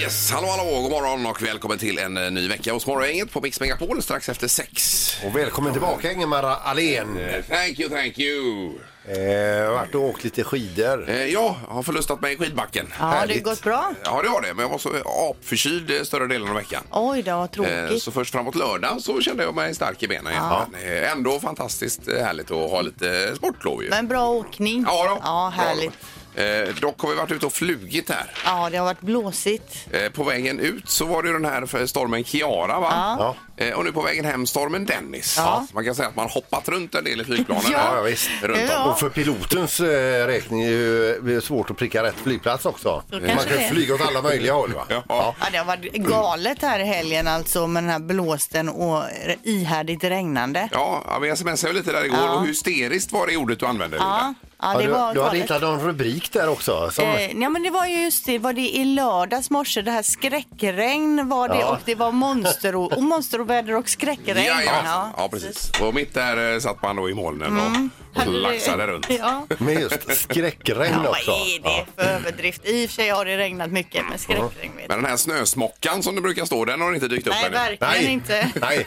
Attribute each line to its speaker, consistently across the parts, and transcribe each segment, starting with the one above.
Speaker 1: Yes, hallå hallå, god morgon och välkommen till en eh, ny vecka hos Morgongänget på Mix Megapol strax efter sex.
Speaker 2: Och välkommen tillbaka Ingemar Ahlén. Eh,
Speaker 1: Thank you, thank you.
Speaker 2: jag har varit och åkt lite skidor.
Speaker 1: Eh, ja, har förlustat mig i skidbacken.
Speaker 3: Ja, det har
Speaker 2: Härligt.
Speaker 3: gått bra.
Speaker 1: Ja, det har det, men jag var så apförkyld eh, större delen av veckan.
Speaker 3: Oj då, vad
Speaker 1: Eh,
Speaker 3: tråkigt.
Speaker 1: Så först framåt lördag så kände jag mig stark i benen. igen. Men, eh, Ändå fantastiskt eh, härligt att ha lite sportlov ju.
Speaker 3: Men bra åkning.
Speaker 1: Ja, då.
Speaker 3: ja härligt.
Speaker 1: Bra. Eh, dock har vi varit ute och flugit här.
Speaker 3: Ja, det har varit blåsigt.
Speaker 1: Eh, På vägen ut så var det ju den här för- stormen Kiara va?
Speaker 3: Ja.
Speaker 1: Eh, Och nu på vägen hem stormen Dennis.
Speaker 3: Ja.
Speaker 1: Man kan säga att man hoppat runt en del i flygplanen.
Speaker 3: Ja.
Speaker 1: här
Speaker 2: Ja, visst.
Speaker 1: Runt om.
Speaker 3: Ja.
Speaker 2: Och för pilotens eh, räkning är ju- det är svårt att pricka rätt flygplats också. Man
Speaker 3: kanske
Speaker 2: kan
Speaker 3: det är.
Speaker 2: flyga åt alla möjliga håll va?
Speaker 1: Ja.
Speaker 3: Ja, det har varit
Speaker 1: Mm.
Speaker 3: galet här i helgen alltså med den här blåsten och ihärdigt regnande.
Speaker 1: Ja, ja, vi smsade ju lite där igår
Speaker 3: Ja.
Speaker 1: och hysteriskt var det ordet du använde.
Speaker 3: Ja,
Speaker 1: Linda.
Speaker 3: ja det
Speaker 2: du,
Speaker 3: var
Speaker 2: du hade
Speaker 3: galet.
Speaker 2: hittat någon rubrik där också. Som,
Speaker 3: Eh, nej men det var ju just det, var det i lördags morse, det här skräckregn var det
Speaker 2: Ja.
Speaker 3: och det var monster och, och monsteroväder och skräckregn.
Speaker 1: Ja, ja. ja, precis. Och mitt där eh, satt man då i molnen och, och så
Speaker 3: Hade det-
Speaker 1: laxade runt.
Speaker 3: Mm. Ja.
Speaker 2: Med just skräckregn
Speaker 3: Ja, vad
Speaker 2: också.
Speaker 3: är det för överdrift? I och för sig har det regnat mycket, men skräckregn vet jag.
Speaker 1: Men den här snösmockan som det brukar stå, den har inte dykt upp
Speaker 3: Nej,
Speaker 1: ännu.
Speaker 3: verkligen
Speaker 2: Nej.
Speaker 3: inte.
Speaker 2: Nej.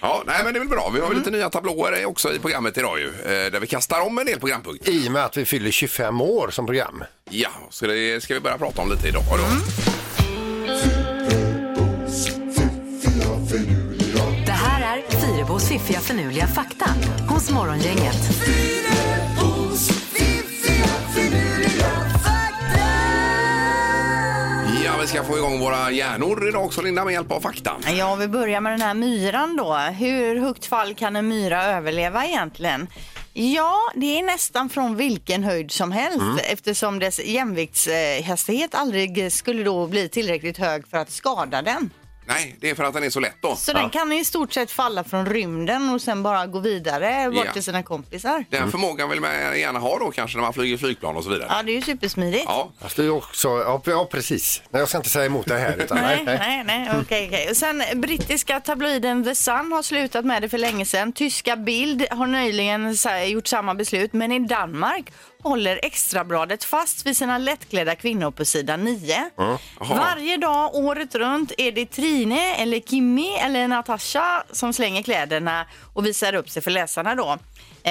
Speaker 1: Ja, nej, men det är väl bra. Vi har väl
Speaker 3: Mm.
Speaker 1: lite nya tablåer också i programmet idag ju, eh, där vi kastar om en del programpunkter.
Speaker 2: I och med att vi fyller 25 år som program.
Speaker 1: Ja, så det ska vi börja prata om lite idag då.
Speaker 3: Mm.
Speaker 4: Det här är Fyrabos fiffiga förnuliga fakta hos Morgongänget.
Speaker 1: Ja, vi ska få igång våra hjärnor idag också Linda med hjälp av fakta.
Speaker 3: Ja, vi börjar med den här myran då. Hur högt fall kan en myra överleva egentligen? Ja, det är nästan från vilken höjd som helst eftersom dess jämviktshastighet aldrig skulle då bli tillräckligt hög för att skada den.
Speaker 1: Nej, det är för att den är så lätt då.
Speaker 3: Så den kan i stort sett falla från rymden och sen bara gå vidare bort
Speaker 1: Ja.
Speaker 3: till sina kompisar.
Speaker 1: Den förmågan vill man gärna ha då kanske när man flyger flygplan och så vidare.
Speaker 3: Mm. Ja, det är ju supersmidigt.
Speaker 1: Ja,
Speaker 2: Fast det är också, ja, ja precis. Nej, jag ska inte säga emot det här. Utan,
Speaker 3: Nej, nej, nej, okej, okej. Och Sen brittiska tabloiden The Sun har slutat med det för länge sedan. Tyska Bild har nyligen så här, gjort samma beslut, men i Danmark håller extrabladet fast vid sina lättklädda kvinnor på sidan 9. Varje dag året runt är det Trine eller Kimmy eller Natasha som slänger kläderna och visar upp sig för läsarna då.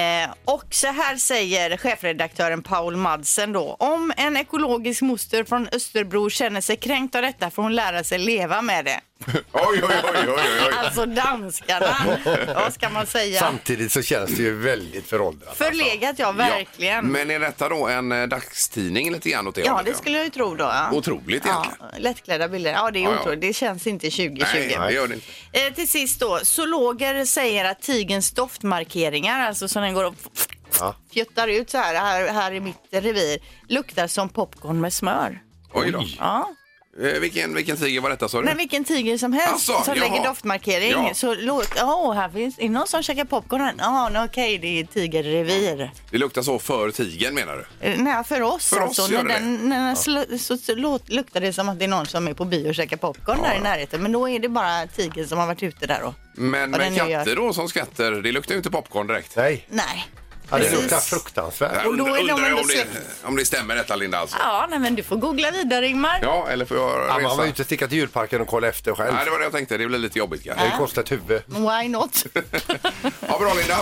Speaker 3: Eh, och så här säger chefredaktören Paul Madsen då. Om en ekologisk moster från Österbro känner sig kränkt av detta får hon lära sig leva med det.
Speaker 1: Oj, oj, oj, oj, oj.
Speaker 3: Alltså danskarna, vad ska man säga?
Speaker 2: Samtidigt så känns det ju väldigt föråldrat. alltså.
Speaker 3: Förlegat ja,
Speaker 1: Ja.
Speaker 3: verkligen.
Speaker 1: Men är detta då en eh, dagstidning lite grann åt det
Speaker 3: Ja,
Speaker 1: hållet,
Speaker 3: det skulle jag ju tro då. Ja.
Speaker 1: Otroligt
Speaker 3: ja,
Speaker 1: egentligen.
Speaker 3: Lättklädda bilder, ja det är
Speaker 1: Ja, ja.
Speaker 3: otroligt. Det känns inte 2020.
Speaker 1: Nej, det gör det inte.
Speaker 3: Eh, till sist då, zoologer säger att tigens doftmarkeringar, alltså som den går och
Speaker 2: Ja.
Speaker 3: fjuttar ut så här, här, här i mitt revir, luktar som popcorn med smör.
Speaker 1: Oj då.
Speaker 3: Ja.
Speaker 1: Eh, vilken, vilken tiger var detta sa du?
Speaker 3: Nej, vilken tiger som helst
Speaker 1: Asså,
Speaker 3: som
Speaker 1: Mm. Alltså, jaha.
Speaker 3: lägger doftmarkering.
Speaker 1: Ja.
Speaker 3: Så låt, åh, här finns, är det någon som käkar popcorn här? Ja, nej, okej, det är tigerrevir.
Speaker 1: Det luktar så för tigern menar du?
Speaker 3: Eh, Nej, för oss
Speaker 1: För oss
Speaker 3: alltså.
Speaker 1: gör
Speaker 3: när
Speaker 1: det
Speaker 3: den, när den sl- så, så låt, luktar det som att det är någon som är på bio och käkar popcorn där i närheten. Men då är det bara tigern som har varit ute där och...
Speaker 1: Men
Speaker 3: Vad
Speaker 1: med
Speaker 3: den nu gör.
Speaker 1: katter då som skvätter, det luktar ju inte popcorn direkt.
Speaker 2: Nej,
Speaker 3: Nej.
Speaker 2: ja, det
Speaker 3: Precis.
Speaker 2: luktar fruktansvärt.
Speaker 1: Jag
Speaker 3: Och då är
Speaker 1: undrar-
Speaker 3: de
Speaker 1: undrar jag
Speaker 3: ändå
Speaker 1: om, det, om det stämmer detta Linda alltså.
Speaker 3: Ja, nej, men du får googla vidare Ingmar.
Speaker 1: Ja, eller får
Speaker 2: Ja,
Speaker 1: jag
Speaker 2: man var ju
Speaker 1: resa?
Speaker 2: inte sticka till djurparken och kolla efter själv.
Speaker 1: Nej, det var det jag tänkte. Det blir lite jobbigt kanske.
Speaker 2: Det kostar ett huvud.
Speaker 3: Why not?
Speaker 1: Ja, bra Linda.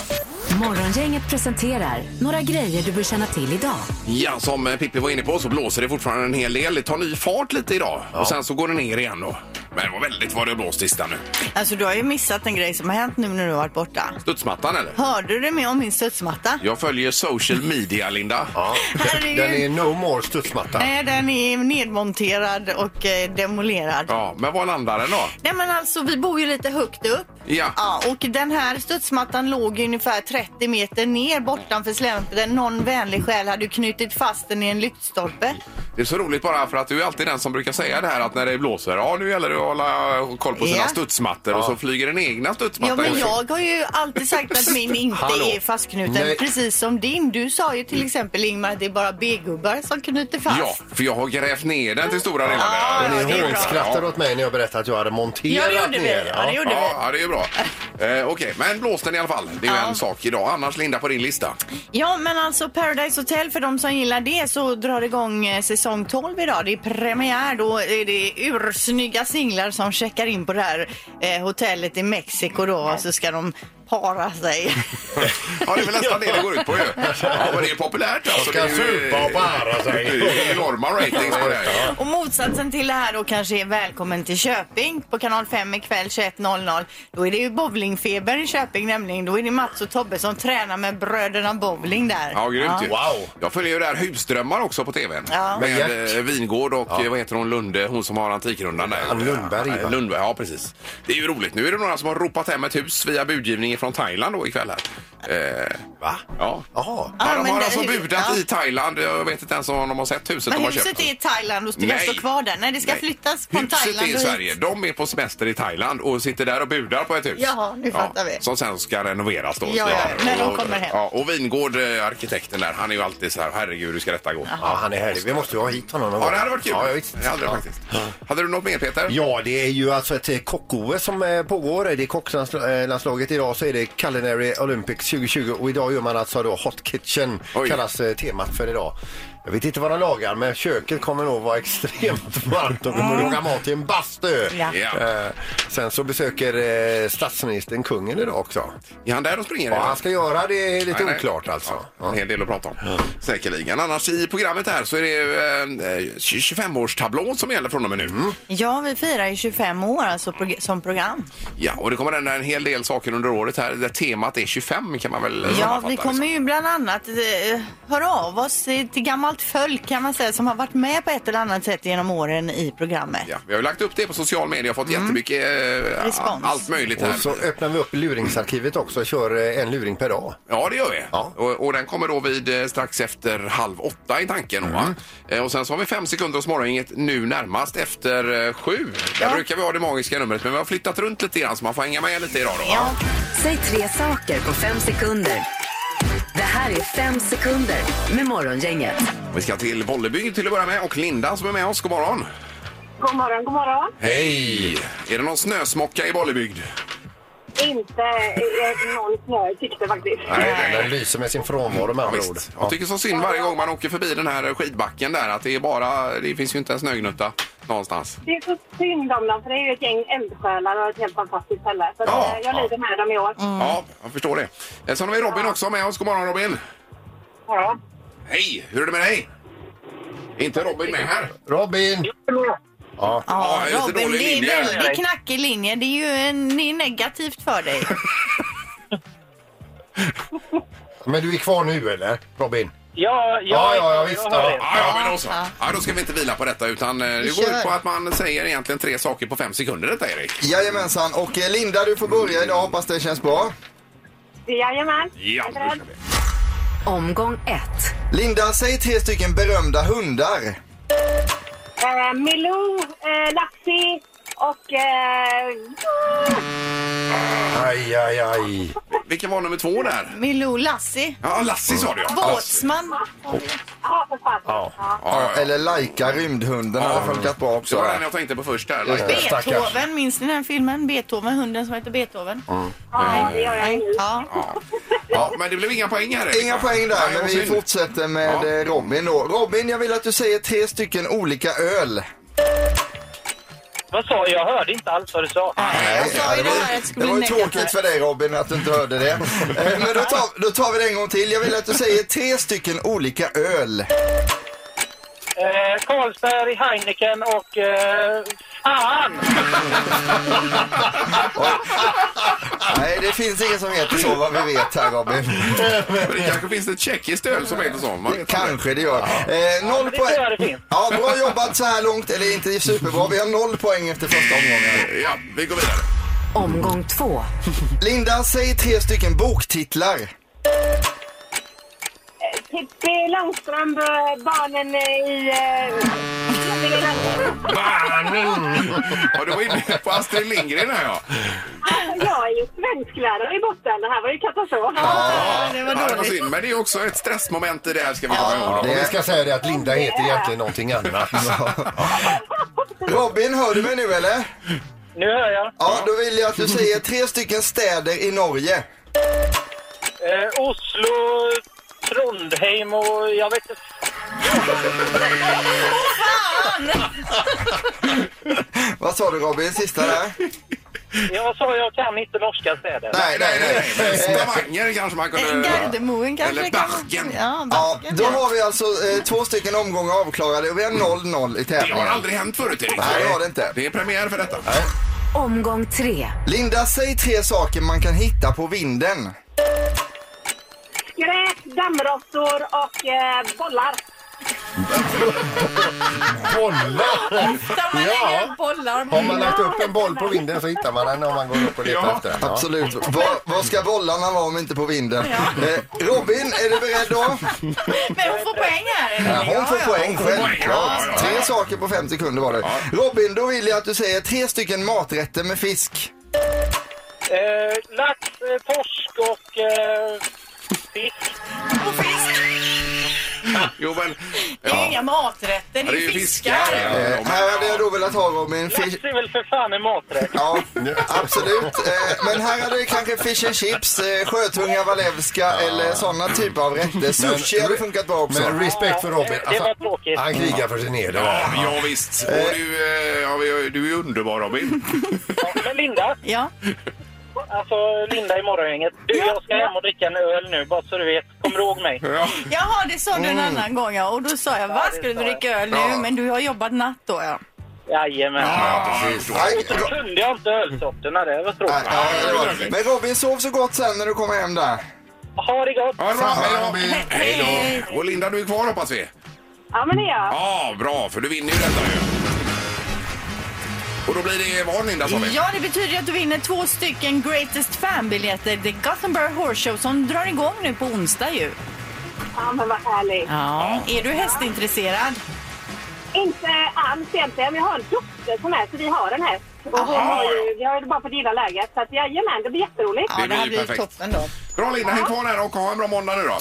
Speaker 4: Morgongänget presenterar några grejer du bör känna till idag.
Speaker 1: Ja, som eh, Pippi var inne på så blåser det fortfarande en hel del. Det tar ny fart lite idag och sen så går det ner igen då. Men det var väldigt vad det har blåst sista nu.
Speaker 3: alltså, du har ju missat en grej som har hänt nu när du har varit borta.
Speaker 1: Studsmattan eller?
Speaker 3: Hörde du med om min studsmatta?
Speaker 1: Jag följer social media, Linda.
Speaker 2: Ja.
Speaker 3: Herregud.
Speaker 2: Den är no more studsmatta.
Speaker 3: Nej, den är nedmonterad och eh, demolerad.
Speaker 1: Ja, men var landar den då?
Speaker 3: Nej men alltså vi bor ju lite högt upp
Speaker 1: Ja.
Speaker 3: Ja, och den här studsmattan låg ungefär 30 meter ner bortanför slänten. Någon vänlig själ hade ju knutit fast den i en lyktstolpe.
Speaker 1: Det är så roligt bara för att du är alltid den som brukar säga det här att när det blåser, ja nu gäller det att hålla koll på sina
Speaker 3: Ja.
Speaker 1: studsmattor och så flyger den egna studsmattan.
Speaker 3: Ja, men jag har ju alltid sagt att min inte
Speaker 2: Hallå.
Speaker 3: är fastknuten,
Speaker 2: Nej.
Speaker 3: precis som din. Du sa ju till exempel, Ingmar, att det är bara B-gubbar som knyter fast.
Speaker 1: Ja, för jag har grävt ner den till stora delar.
Speaker 3: Ja,
Speaker 2: Ni
Speaker 3: det är bra.
Speaker 2: hånskrattade åt mig när jag berättade att jag hade monterat
Speaker 3: Ja, det gjorde vi.
Speaker 2: ner.
Speaker 3: Ja, det gjorde vi.
Speaker 1: Ja, ja, det är bra. Eh, Okej, men blåsten i alla fall. Det är ju en sak idag. Annars Linda på din lista.
Speaker 3: Ja, men alltså Paradise Hotel, för de som gillar det så drar det igång eh, säsong 12 idag. Det är premiär, då är det ursnygga singlar som checkar in på det här eh, hotellet i Mexiko då och så ska de para sig.
Speaker 1: Ja, det är väl nästan det det går ut på ju. Ja, men det är populärt alltså.
Speaker 2: ska
Speaker 1: Det är ju-
Speaker 2: supa och para sig.
Speaker 1: Det är enorma ratings på det här.
Speaker 3: Och motsatsen till det här då kanske är Välkommen till Köping på kanal 5 ikväll 21.00. Då är det ju bowlingfeber i Köping nämligen. Då är det Mats och Tobbe som tränar med bröderna bowling där.
Speaker 1: Ja, grymt ju.
Speaker 2: Wow.
Speaker 1: Jag följer ju det här Husdrömmar också på tvn.
Speaker 3: Ja.
Speaker 2: Med
Speaker 1: Med
Speaker 2: Gert.
Speaker 1: eh, Vingård och eh, vad heter hon, Lunde, hon som har Antikrundan där.
Speaker 2: Ja, Lundberg,
Speaker 1: Ja,
Speaker 2: va?
Speaker 1: Lundberg, ja precis. Det är ju roligt. Nu är det några som har ropat hem ett hus via budgivning från Thailand då ikväll här. Eh,
Speaker 2: Va?
Speaker 1: ja.
Speaker 2: Jaha.
Speaker 1: Ja,
Speaker 3: Ja,
Speaker 1: de
Speaker 3: men
Speaker 1: har
Speaker 3: det-
Speaker 1: alltså budat
Speaker 3: ja.
Speaker 1: i Thailand. Jag vet inte ens om de har sett huset
Speaker 3: Men
Speaker 1: de har köpt.
Speaker 3: huset är i Thailand och ska
Speaker 1: Nej.
Speaker 3: stå kvar där. Nej, det ska
Speaker 1: Nej.
Speaker 3: flyttas från
Speaker 1: Huset
Speaker 3: Thailand
Speaker 1: är i
Speaker 3: och hit.
Speaker 1: Sverige. De är på semester i Thailand och sitter där och budar på ett hus.
Speaker 3: Jaha, nu fattar vi.
Speaker 1: Som sen ska renoveras då.
Speaker 3: Ja, ja, ja, när de
Speaker 1: Och-
Speaker 3: kommer hem.
Speaker 1: Ja, och Vingård, eh, arkitekten där, han är ju alltid så här, herregud hur ska detta gå?
Speaker 2: Ja, han är härlig. Vi måste ju ha hit honom någon
Speaker 1: Ja,
Speaker 2: gång.
Speaker 1: det hade varit kul.
Speaker 2: Ja, visst.
Speaker 1: Det hade det
Speaker 2: Ja.
Speaker 1: faktiskt. Hade du något mer Peter?
Speaker 2: Ja, det är ju alltså ett eh, kock-OS som eh, pågår. Det är kocklandslaget idag så är det Culinary Olympics 2020 och idag gör man alltså då Hot Kitchen
Speaker 1: Oj.
Speaker 2: kallas eh, temat för idag. Jag vet inte vad de lagar men köket kommer nog vara extremt varmt och de kommer laga mat i en bastu.
Speaker 3: Ja.
Speaker 1: Ja.
Speaker 2: Eh, Sen så besöker eh, statsministern kungen idag också.
Speaker 1: Är han där och springer?
Speaker 2: Vad
Speaker 1: eller?
Speaker 2: han ska göra det är lite
Speaker 1: Nej, nej.
Speaker 2: oklart alltså.
Speaker 1: Ja,
Speaker 2: Ja.
Speaker 1: en hel del att prata om. Säkerligen. Annars i programmet här så är det ju, eh, eh, 25-årstablån som gäller från och med nu.
Speaker 2: Mm.
Speaker 3: Ja, vi firar ju 25 år alltså prog- som program.
Speaker 1: Ja, och det kommer hända en hel del saker under året här. Där temat är liksom. 25 kan man väl
Speaker 3: Ja,
Speaker 1: sammanfatta
Speaker 3: vi
Speaker 1: det som.
Speaker 3: kommer ju bland annat eh, höra av oss eh, till gammalt folk kan man säga som har varit med på ett eller annat sätt genom åren i programmet.
Speaker 1: Ja, vi har ju lagt upp det på social media och fått jättemycket eh,
Speaker 3: Mm. Respons.
Speaker 1: allt möjligt här.
Speaker 2: Och så öppnar vi upp luringsarkivet också och kör eh, en luring per dag.
Speaker 1: Ja, det gör vi.
Speaker 2: Ja.
Speaker 1: Och, och den kommer då vid eh, strax efter halv åtta i tanken.
Speaker 2: Mm.
Speaker 1: Va? Eh, Och sen så har vi fem sekunder hos morgoninget nu närmast efter eh, sju. Där brukar vi ha det magiska numret, men vi har flyttat runt lite grann så man får hänga med lite idag då. Va?
Speaker 3: Ja.
Speaker 4: Säg tre saker på fem sekunder. Det här är fem sekunder med Morgongänget.
Speaker 1: Vi ska till Bolleby till att börja med och Linda som är med oss. God morgon!
Speaker 5: God morgon, god morgon.
Speaker 1: Hej! Är det någon snösmocka i Bollebygd?
Speaker 5: Inte eh, någon snö tyckte faktiskt.
Speaker 2: Den lyser med sin frånvaro med andra ord.
Speaker 1: Visst. Jag tycker så synd varje gång man åker förbi den här skidbacken där att det är bara, det finns ju inte en snögnutta någonstans.
Speaker 5: Det är så synd om dem, för det är ju ett gäng eldsjälar och ett helt fantastiskt ställe. Så
Speaker 1: Ja,
Speaker 5: att, eh, jag
Speaker 1: ja.
Speaker 5: lider med dem i år.
Speaker 1: Ja, jag förstår det. Eh, Sen har vi Robin också med oss. God morgon Robin!
Speaker 5: Ja.
Speaker 1: Hej! Hur är det med dig? Är inte Robin med här?
Speaker 2: Robin! Ja.
Speaker 1: Ja,
Speaker 3: Ja,
Speaker 1: det är lite
Speaker 3: Robin,
Speaker 1: dålig
Speaker 3: det är
Speaker 1: linje.
Speaker 3: väldigt knackig linje. Det är ju en, det är negativt för dig.
Speaker 2: Men du är kvar nu eller? Robin?
Speaker 6: Ja,
Speaker 2: Ja, ja, ja visst. Ja.
Speaker 1: Ja, ja, men då så. Ja, då ska vi inte vila på detta utan eh, det går
Speaker 3: kör.
Speaker 1: ut på att man säger egentligen tre saker på fem sekunder detta Erik.
Speaker 7: Jajamensan, och eh, Linda du får börja idag, hoppas det känns bra.
Speaker 5: Jajamän.
Speaker 1: Ja,
Speaker 5: Är
Speaker 1: då
Speaker 5: du
Speaker 1: kör
Speaker 5: beredd?
Speaker 1: vi.
Speaker 4: Omgång ett.
Speaker 7: Linda, säg tre stycken berömda hundar.
Speaker 5: Eh, Milou, eh, Laxi och... Eh,
Speaker 2: Aj, aj, aj.
Speaker 1: Vilken var nummer två där?
Speaker 3: Milou Lassi,
Speaker 1: Ja, Lassie sa du ja.
Speaker 3: båtsman.
Speaker 5: ja, för fan.
Speaker 2: Ja.
Speaker 1: Ja, ja, ja.
Speaker 7: Eller Laika, rymdhunden, hade funkat bra
Speaker 1: Det
Speaker 7: också.
Speaker 1: var den jag tänkte på först där.
Speaker 2: Just det. Stackars.
Speaker 3: Beethoven, minns ni den filmen? Beethoven, hunden som heter Beethoven.
Speaker 5: Ja, det gör jag ju.
Speaker 3: Ja.
Speaker 1: Ja. ja, men det blev inga poäng här Erik.
Speaker 7: Inga poäng
Speaker 1: Nej,
Speaker 7: där,
Speaker 1: vad
Speaker 7: men vi
Speaker 1: synd.
Speaker 7: fortsätter med
Speaker 1: Ja.
Speaker 7: eh, Robin då. Robin, jag vill att du säger tre stycken olika öl.
Speaker 6: Vad sa jag? Jag hörde inte alls vad du sa.
Speaker 3: Jag
Speaker 7: Ja,
Speaker 3: sa ju
Speaker 7: det,
Speaker 3: det
Speaker 7: var,
Speaker 3: här att det skulle
Speaker 7: det var ju
Speaker 3: bli
Speaker 7: tråkigt
Speaker 3: negativt.
Speaker 7: för dig Robin att du inte hörde det. Eh, Men då tar, då tar vi det en gång till. Jag vill att du säger tre stycken olika öl.
Speaker 6: Eh, Carlsberg, Heineken och... Eh, fan!
Speaker 7: Nej, det finns ingen som heter så vad vi vet här Robin.
Speaker 1: Men det kanske finns ett tjeckiskt öl som heter så. Man vet aldrig.
Speaker 7: Kanske det gör. Eh, noll
Speaker 6: men det
Speaker 7: poäng.
Speaker 6: tror jag det finns.
Speaker 7: Ja, bra jobbat så här långt. Eller inte superbra. Vi har noll poäng efter första omgången.
Speaker 1: Ja, vi går vidare.
Speaker 4: Omgång två.
Speaker 7: Linda, säg tre stycken boktitlar.
Speaker 5: Pippi Långstrump, eh, barnen eh, i... eh,
Speaker 1: Barnen! Ja, du var inne på Astrid Lindgren här ja.
Speaker 5: Jag är ju svensklärare i botten. Det här var ju katastrof.
Speaker 3: Det
Speaker 1: Ja, det var synd, men det är också ett stressmoment i det här ska vi komma ihåg.
Speaker 2: Och
Speaker 1: då.
Speaker 2: vi ska säga det att Linda heter egentligen någonting annat.
Speaker 7: Eh, Robin, hör du mig nu eller?
Speaker 6: Nu hör jag.
Speaker 7: Ja, då vill jag att du säger tre stycken städer i Norge.
Speaker 6: Eh, Oslo, Trondheim och jag vet inte.
Speaker 7: Vad sa du Robin, sista där?
Speaker 6: Jag sa jag kan inte norska städer.
Speaker 7: Nej, nej, nej.
Speaker 1: Men Stavanger kanske man kunde...
Speaker 3: Eh, Gardermoen kanske det
Speaker 1: Eller
Speaker 3: kan vara.
Speaker 1: Barken.
Speaker 3: Ja,
Speaker 7: Ja,
Speaker 3: Barken.
Speaker 7: då
Speaker 3: ja.
Speaker 7: har vi alltså eh, två stycken omgångar avklarade och vi har 0-0 i
Speaker 1: Det har
Speaker 7: tävlingen.
Speaker 1: aldrig hänt förut Erik.
Speaker 7: Nej, det har det inte.
Speaker 1: Det är premiär för detta.
Speaker 4: Omgång tre.
Speaker 7: Linda, säg tre saker man kan hitta på vinden.
Speaker 5: Skräp, dammråttor och eh, bollar.
Speaker 2: Bolla!
Speaker 3: Där man lägger upp bollar.
Speaker 2: Har man lagt upp en boll på vinden så hittar man den om man går upp och letar
Speaker 1: Ja,
Speaker 2: efter den. Ja.
Speaker 7: Absolut. Vad- Vad ska bollarna vara om inte på vinden? Eh, Robin, är du beredd då?
Speaker 3: Men hon får poäng här.
Speaker 7: Ja,
Speaker 3: eller?
Speaker 7: hon får
Speaker 3: Ja, ja.
Speaker 7: poäng
Speaker 1: Ja, ja,
Speaker 7: självklart.
Speaker 1: ja.
Speaker 7: Tre saker på fem sekunder var det. Robin, då vill jag att du säger tre stycken maträtter med fisk.
Speaker 6: Eh, lax, eh, torsk och eh, fisk.
Speaker 1: Jo, men...
Speaker 3: Det är ju
Speaker 1: Ja.
Speaker 3: inga maträtter, det
Speaker 1: Ja,
Speaker 3: är ju fiskar.
Speaker 1: Ja, ja,
Speaker 7: Eh,
Speaker 1: ja,
Speaker 7: här hade jag
Speaker 1: men-
Speaker 7: då velat ha Robin. Fish...
Speaker 6: Lax är väl för fan en maträtt.
Speaker 7: Ja, absolut. Eh, men här hade det kanske fish and chips, eh, sjötunga valevska eller sådana typer av rätter. Sushi hade funkat bra också.
Speaker 2: Men respekt för Robin.
Speaker 6: Det- det var tråkigt.
Speaker 2: han krigar för sin heder.
Speaker 1: Ja,
Speaker 2: där.
Speaker 1: ja, visst. Och du, eh, ja, vi- du är underbar Robin.
Speaker 6: Ja, Men Linda,
Speaker 3: Ja.
Speaker 6: alltså Linda i morgongänget. Du, jag ska hem och dricka en öl nu bara så du vet. Kommer du ihåg mig?
Speaker 1: Ja.
Speaker 3: Jaha, det sa du en annan gång ja. Och då sa jag, vad
Speaker 6: det
Speaker 3: ska du
Speaker 6: sa jag.
Speaker 3: dricka öl nu?
Speaker 1: Mm. Ja.
Speaker 3: Men du har jobbat natt då ja.
Speaker 6: Jajamän.
Speaker 1: Ja, precis.
Speaker 7: Aj,
Speaker 6: Så
Speaker 7: Ro-
Speaker 6: kunde jag inte ölsorterna, det var
Speaker 7: Nej,
Speaker 6: tråkigt.
Speaker 7: ja, det var det. Men Robin, sov så gott sen när du kommer hem där.
Speaker 6: Ha det gott!
Speaker 1: Ja, det var bra. Hej då.
Speaker 2: Robin.
Speaker 1: Hej då. Och Linda, du är kvar hoppas vi?
Speaker 5: Ja, men det är jag.
Speaker 1: Ja, bra, för du vinner ju detta ju. Och då blir det vad Linda sa vi?
Speaker 3: Ja, det betyder ju att du vinner två stycken Greatest Fan-biljetter. The Gothenburg Horse Show som drar igång nu på onsdag ju.
Speaker 5: Ja, men vad härligt.
Speaker 3: Ja. Är du hästintresserad?
Speaker 5: Inte alls egentligen, men jag har en dotter som är så vi har en häst. Och hon
Speaker 1: Aha,
Speaker 5: har
Speaker 1: ja.
Speaker 5: ju, vi har ju det bara på det gilla läget. Så att, jajamän, det blir jätteroligt.
Speaker 3: Ah.
Speaker 1: Det blir ju perfekt.
Speaker 3: toppen då.
Speaker 1: Bra Linda, häng kvar där och ha en bra måndag nu då.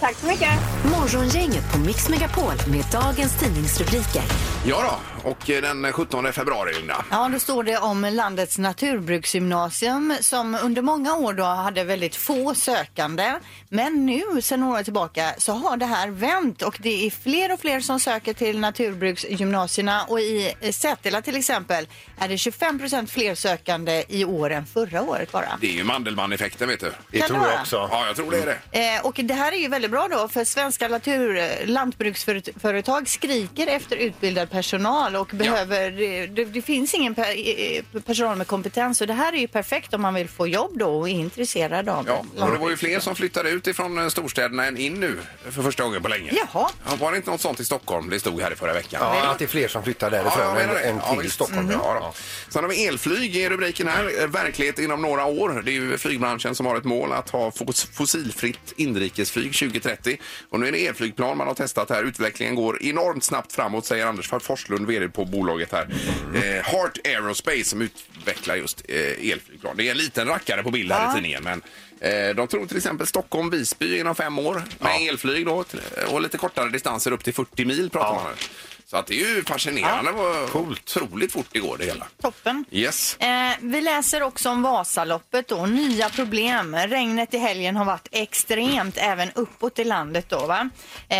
Speaker 5: Tack så mycket.
Speaker 4: Morgongänget på Mix Megapol med dagens tidningsrubriker.
Speaker 1: Ja då, och eh, den 17 februari Linda.
Speaker 3: Ja, då står det om landets naturbruksgymnasium som under många år då hade väldigt få sökande. Men nu, sedan några år tillbaka, så har det här vänt och det är fler och fler som söker till naturbruksgymnasierna och i eh, Sätila till exempel är det 25 procent fler sökande i år än förra året bara.
Speaker 1: Det är ju Mandelmann-effekten vet du.
Speaker 2: Det
Speaker 3: Kan
Speaker 2: tror
Speaker 3: det
Speaker 2: jag
Speaker 3: vara?
Speaker 2: också.
Speaker 1: Ja, jag tror det är det.
Speaker 3: Eh, och det här är ju väldigt bra då för svenska natur, lantbruksföretag skriker efter utbildad personal och behöver, det, det finns ingen per, eh, personal med kompetens och det här är ju perfekt om man vill få jobb då och är intresserad av
Speaker 1: Ja, och det
Speaker 3: lantbruk.
Speaker 1: var ju fler som flyttade ut ifrån eh, storstäderna än in nu för första gången på länge.
Speaker 3: Jaha.
Speaker 1: Ja, var det inte något sånt i Stockholm? Det stod här i förra veckan.
Speaker 2: Ja, att det är fler som flyttar
Speaker 1: Ja, jag
Speaker 2: därifrån
Speaker 1: menar
Speaker 2: än,
Speaker 1: det.
Speaker 2: än
Speaker 1: Ja,
Speaker 2: till
Speaker 1: visst.
Speaker 2: Stockholm.
Speaker 1: Mm. Ja,
Speaker 2: Ja,
Speaker 1: då. Sen har vi elflyg i rubriken här. Eh, Verklighet inom några år. Det är ju flygbranschen som har ett mål att ha fos- fossilfritt inrikesflyg 2030. Och nu är det elflygplan man har testat här. Utvecklingen går enormt snabbt framåt säger Anders Forslund, vd på bolaget här. Eh, Heart Aerospace som utvecklar just eh, elflygplan. Det är en liten rackare på bild här i tidningen. Men eh, de tror till exempel Stockholm-Visby inom fem år med elflyg då, till- och lite kortare distanser upp till 40 mil pratar man om. Så att det är ju fascinerande vad otroligt fort det går det hela.
Speaker 3: Toppen.
Speaker 1: Yes.
Speaker 3: Eh, vi läser också om Vasaloppet då, nya problem. Regnet i helgen har varit extremt även uppåt i landet då va. Eh,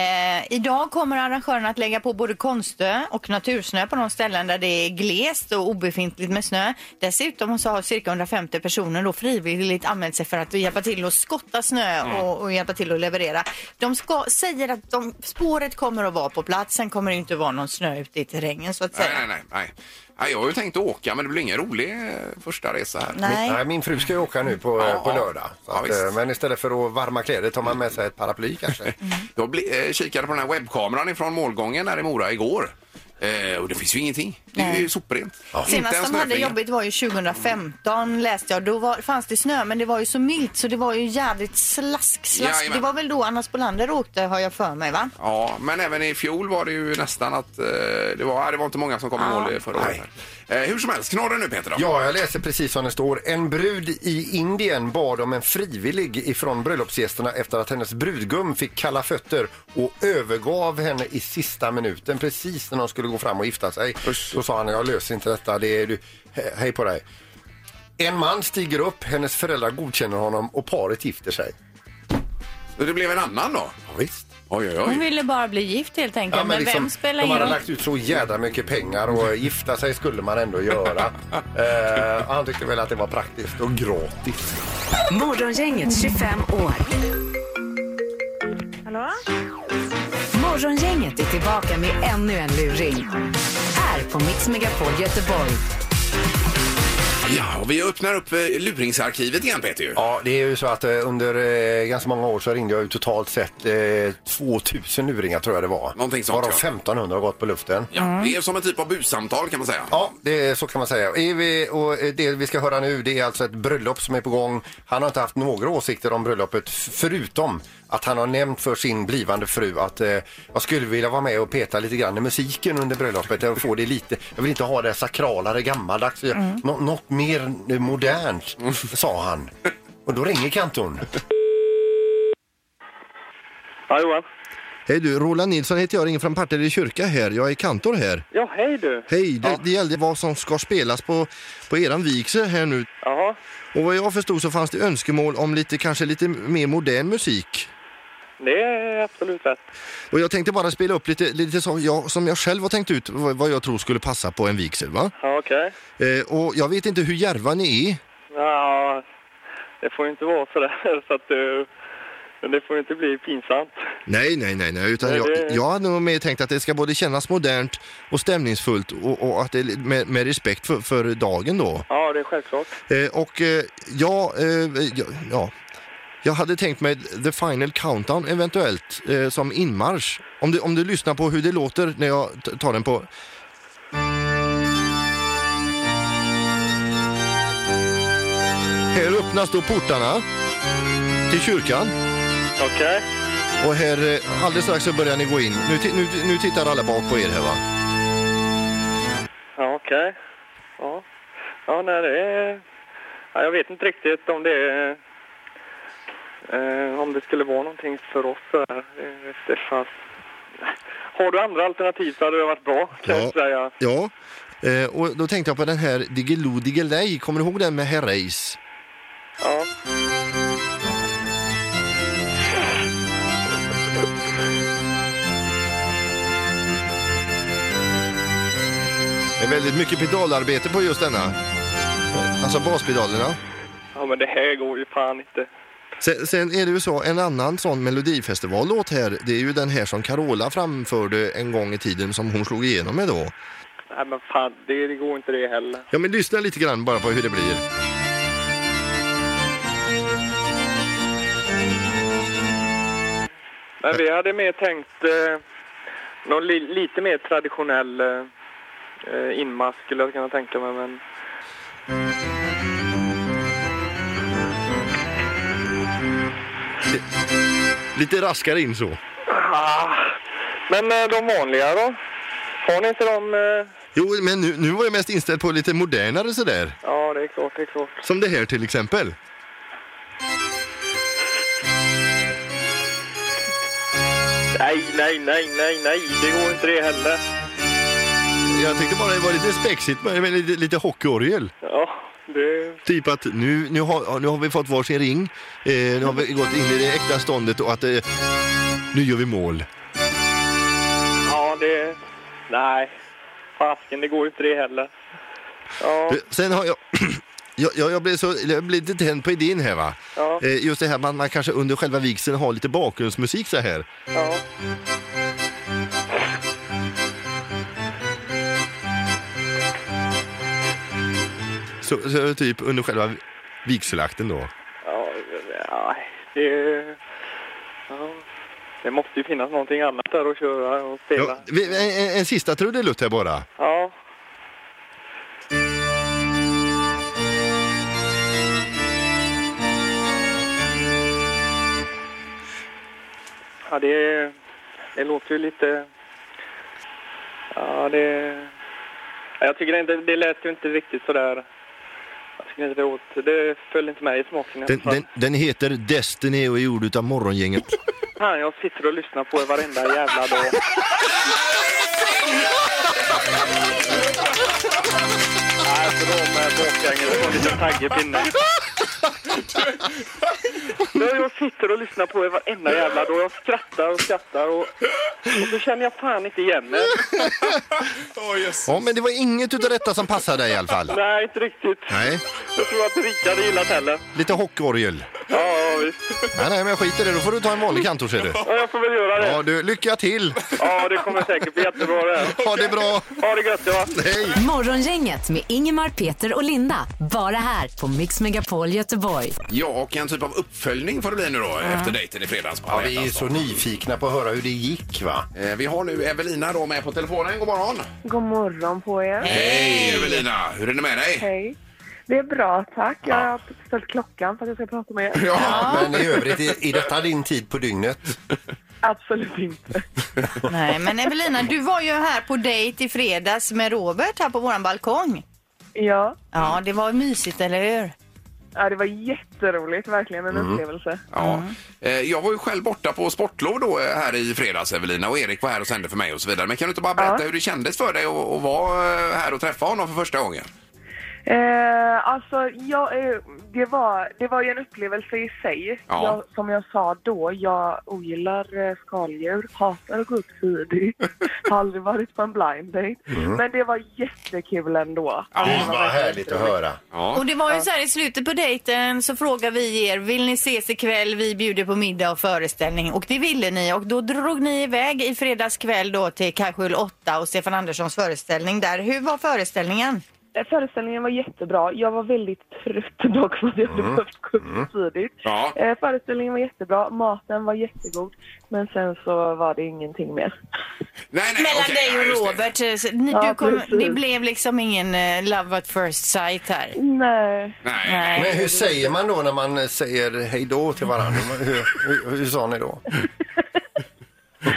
Speaker 3: idag kommer arrangörerna att lägga på både konstö och natursnö på de ställen där det är glest och obefintligt med snö. Dessutom så har cirka 150 personer då frivilligt anmält sig för att hjälpa till att skotta snö och, och hjälpa till att leverera. De ska, säger att de, spåret kommer att vara på plats, sen kommer det inte vara någon snö ute i terrängen så att säga.
Speaker 1: Nej, nej, nej, nej. Nej, Jag har ju tänkt åka, men det blir ingen rolig eh, första resa här.
Speaker 3: Nej.
Speaker 2: Nej, min fru ska ju åka nu på,
Speaker 1: Ja,
Speaker 2: på
Speaker 1: ja.
Speaker 2: lördag. Så
Speaker 1: Ja,
Speaker 2: att,
Speaker 1: visst.
Speaker 2: eh, men istället för att varma kläder tar man med sig ett paraply kanske.
Speaker 1: Jag bli, eh, kikade på den här webbkameran ifrån målgången här i Mora igår. Eh, och det finns ju ingenting. Det är ju
Speaker 3: Nej.
Speaker 1: soprent. Inte
Speaker 3: Senast
Speaker 1: ens
Speaker 3: de hade
Speaker 1: snöflinga.
Speaker 3: jobbigt var ju 2015 läste jag. Då var, fanns det snö men det var ju så milt så det var ju jävligt slask, slask.
Speaker 1: Jajamän.
Speaker 3: Det var väl då Anna Spolander åkte har jag för mig va?
Speaker 1: Ja, men även i fjol var det ju nästan att eh, det, var, nej, det var inte många som kom i mål eh, förra året. Eh, hur som helst, knorren nu Peter då.
Speaker 2: Ja, jag läser precis som det står. En brud i Indien bad om en frivillig ifrån bröllopsgästerna efter att hennes brudgum fick kalla fötter och övergav henne i sista minuten precis när de skulle gå fram och gifta sig. Då sa han, jag löser inte detta, det är du, he- hej på dig. En man stiger upp, hennes föräldrar godkänner honom och paret gifter sig.
Speaker 1: Så Det blev en annan då?
Speaker 2: Ja, visst.
Speaker 1: Oj, oj,
Speaker 8: Hon
Speaker 1: oj.
Speaker 8: ville bara bli gift helt enkelt. men
Speaker 2: liksom,
Speaker 8: vem spelar
Speaker 2: de hade
Speaker 8: roll?
Speaker 2: lagt ut så jädra mycket pengar och gifta sig skulle man ändå göra. eh, han tyckte väl att det var praktiskt och gratis.
Speaker 4: Morgongänget 25 år.
Speaker 5: Hallå?
Speaker 4: Morgongänget är tillbaka med ännu en luring. Här på Mix Megapol Göteborg.
Speaker 1: Ja, och vi öppnar upp eh, luringsarkivet igen Peter ju.
Speaker 2: Ja, det är ju så att eh, under eh, ganska många år så ringde jag ju totalt sett eh, 2000 luringar tror jag det var.
Speaker 1: Någonting sånt,
Speaker 2: Varav
Speaker 1: ja.
Speaker 2: 1500 har gått på luften.
Speaker 1: Ja, Det är som en typ av bussamtal kan man säga.
Speaker 2: Mm. Ja, det är, så kan man säga. Är vi, och eh, det vi ska höra nu det är alltså ett bröllop som är på gång. Han har inte haft några åsikter om bröllopet f- förutom att han har nämnt för sin blivande fru att eh, jag skulle vilja vara med och peta lite grann i musiken under bröllopet. Jag, får det lite, jag vill inte ha det sakralare, gammaldags. Jag- Nå- något mer eh, modernt, sa han. Och då ringer kantorn.
Speaker 6: Ja, Johan.
Speaker 9: Hej du, Roland Nilsson heter jag, ringer från Partille kyrka här. Jag är kantor här.
Speaker 6: Ja, hej du.
Speaker 9: Hej, det, det gällde vad som ska spelas på, på eran vigsel här nu.
Speaker 6: Jaha.
Speaker 9: Och vad jag förstod så fanns det önskemål om lite, kanske lite mer modern musik.
Speaker 6: Det är absolut rätt.
Speaker 9: Och jag tänkte bara spela upp lite, lite så, jag, som jag själv har tänkt ut vad, vad jag tror skulle passa på en vigsel va?
Speaker 6: Ja, okej.
Speaker 9: Eh, och jag vet inte hur järva ni är.
Speaker 6: Ja, det får ju inte vara så där så att du... Men det får ju inte bli pinsamt.
Speaker 9: Nej, nej, nej, nej. Utan
Speaker 6: Nej,
Speaker 9: jag,
Speaker 6: det-
Speaker 9: jag hade nog mer tänkt att det ska både kännas modernt och stämningsfullt och, och att det är med, med respekt för, för dagen då.
Speaker 6: Ja, det är självklart.
Speaker 9: Eh, och eh, jag, eh, ja, ja, jag hade tänkt mig The Final Countdown eventuellt eh, som inmarsch. Om du, om du lyssnar på hur det låter när jag t- tar den på... Här öppnas då portarna till kyrkan.
Speaker 6: Okej.
Speaker 9: Och här, eh, alldeles strax så börjar ni gå in. Nu, ti- nu, nu tittar alla bak på er här va?
Speaker 6: Ja, okej. Ja. ja, nej det är... Ja, jag vet inte riktigt om det är... Eh, om det skulle vara någonting för oss så här. Eh, Det fanns... Har du andra alternativ så hade det varit bra, kan jag säga.
Speaker 9: Ja. Eh, och då tänkte jag på den här Diggiloo Diggiley. Kommer du ihåg den med Herreys?
Speaker 6: Ja.
Speaker 9: Det är väldigt mycket pedalarbete på just denna. Alltså baspedalerna.
Speaker 6: ja, men det här går ju fan inte.
Speaker 9: Sen, sen är det ju så, en annan sån melodifestivallåt här, det är ju den här som Carola framförde en gång i tiden som hon slog igenom med då.
Speaker 6: Nej, men fan, det, det går inte det heller.
Speaker 9: Ja men lyssna lite grann bara på hur det blir.
Speaker 6: Men vi hade mer tänkt eh, någon li, lite mer traditionell eh, eh, inmask skulle jag kunna tänka mig. Men...
Speaker 9: Lite raskare in så.
Speaker 6: Ah. Men eh, de vanliga då? Har ni inte dem? Eh...
Speaker 9: Jo men nu, nu var jag mest inställd på lite modernare sådär.
Speaker 6: Ja, det är klart, det är klart.
Speaker 9: Som det här till exempel.
Speaker 6: Nej, nej, nej, nej, nej, det går inte det heller.
Speaker 9: Jag tänkte bara det var lite spexigt men men lite, lite hockeyorgel.
Speaker 6: Ja, det...
Speaker 9: Typ att nu, nu, har, ja, nu har vi fått varsin ring, eh, nu har vi gått in i det äkta ståndet och att eh, nu gör vi mål.
Speaker 6: Ja, det... Nej. Fasken, det går inte det heller. Ja,
Speaker 9: Du, Sen har jag... Jag, jag, jag, blev så, jag blev lite tänd på idén här va.
Speaker 6: Ja.
Speaker 9: Eh, just det här man, man kanske under själva vigseln har lite bakgrundsmusik så här.
Speaker 6: ja.
Speaker 9: Så, så typ under själva vigselakten då.
Speaker 6: Ja, nej, det... Ja. Det måste ju finnas någonting annat där att köra och spela.
Speaker 9: Ja, vi- en, en, en sista trudelutt här bara.
Speaker 6: Ja. Ja, det, det låter ju lite... Ja, det... ja, Jag tycker inte, det lät ju inte riktigt sådär... Jag tycker inte det åt... Det föll inte mig i smaken. i alla
Speaker 9: Den,
Speaker 6: fall.
Speaker 9: den, den heter Destiny och är gjord utav Morgongänget.
Speaker 6: Fan, jag sitter och lyssnar på er varenda jävla dag. Nej, förlåt mig, Håkan. Jag får en liten tagg i pinnen. Ja, Jag sitter och lyssnar på er varenda jävla dag. Jag skrattar och skrattar och, och så känner jag fan inte igen mig.
Speaker 2: Oh,
Speaker 9: Ja, men det var inget utav detta som passade dig i alla fall.
Speaker 6: Nej, inte riktigt.
Speaker 9: Nej,
Speaker 6: Jag tror att Rickard gillat heller.
Speaker 9: lite hockeyorgel.
Speaker 6: Ja, ja, visst.
Speaker 9: Nej, nej, men jag skiter i det. Då får du ta en vanlig kantor ser du.
Speaker 6: Ja, jag får väl göra det.
Speaker 9: Ja, du, lycka till!
Speaker 6: Ja, det kommer säkert bli jättebra det här.
Speaker 9: Ha det bra!
Speaker 6: Ha det gött, ja.
Speaker 4: Morgongänget med Ingemar, Peter och Linda. Bara här på Mix Megapol Göteborg.
Speaker 1: Ja, och en typ av uppföljning får det bli nu då efter dejten i fredags. på
Speaker 2: Mm. Ja, vi är
Speaker 1: Allettas
Speaker 2: så
Speaker 1: dag.
Speaker 2: nyfikna på att höra hur det gick va?
Speaker 1: Eh, Vi har nu Evelina då med på telefonen. God morgon!
Speaker 10: God morgon på er.
Speaker 1: Hej Evelina! Hur är det med dig?
Speaker 10: Hej. Det är bra, tack. Jag har ställt klockan för att jag ska prata med er.
Speaker 2: Men i övrigt, i, i detta din tid på dygnet?
Speaker 10: Absolut inte.
Speaker 3: Nej, men Evelina, du var ju här på dejt i fredags med Robert här på våran balkong.
Speaker 10: Ja.
Speaker 3: Ja, det var mysigt, eller hur?
Speaker 10: Ja, det var jätteroligt, verkligen en
Speaker 1: Mm.
Speaker 10: upplevelse.
Speaker 1: Ja. Eh, Jag var ju själv borta på sportlov då eh, här i fredags Evelina och Erik var här och sände för mig och så vidare. Men kan du inte bara berätta hur det kändes för dig att att vara eh, här och träffa honom för första gången?
Speaker 10: Eh, alltså, jag, eh, det, var, det var ju en upplevelse i sig.
Speaker 1: Ja.
Speaker 10: Jag, som jag sa då, jag ogillar eh, skaldjur, hatar att gå upp tidigt, har aldrig varit på en blind date.
Speaker 2: Mm.
Speaker 10: Men det var jättekul ändå.
Speaker 2: Det var härligt att höra.
Speaker 3: Och det var ju så här i slutet på dejten så frågade vi er, vill ni ses ikväll? Vi bjuder på middag och föreställning. Och det ville ni och då drog ni iväg i fredags kväll då till Kajskjul 8 och Stefan Anderssons föreställning där. Hur var föreställningen?
Speaker 10: Eh, Föreställningen var jättebra. Jag var väldigt trött dock för att jag hade
Speaker 3: Mm.
Speaker 10: behövt gå upp tidigt.
Speaker 1: Ja.
Speaker 10: Eh, Föreställningen var jättebra, maten var jättegod men sen så var det ingenting mer.
Speaker 3: Mellan dig och Robert, så ni,
Speaker 10: Ja,
Speaker 3: du kom,
Speaker 10: precis.
Speaker 3: det blev liksom ingen eh, love at first sight här.
Speaker 10: Nej.
Speaker 1: Nej.
Speaker 2: Men hur säger man då när man säger hej då till varandra? Hur, hur, hur sa ni då?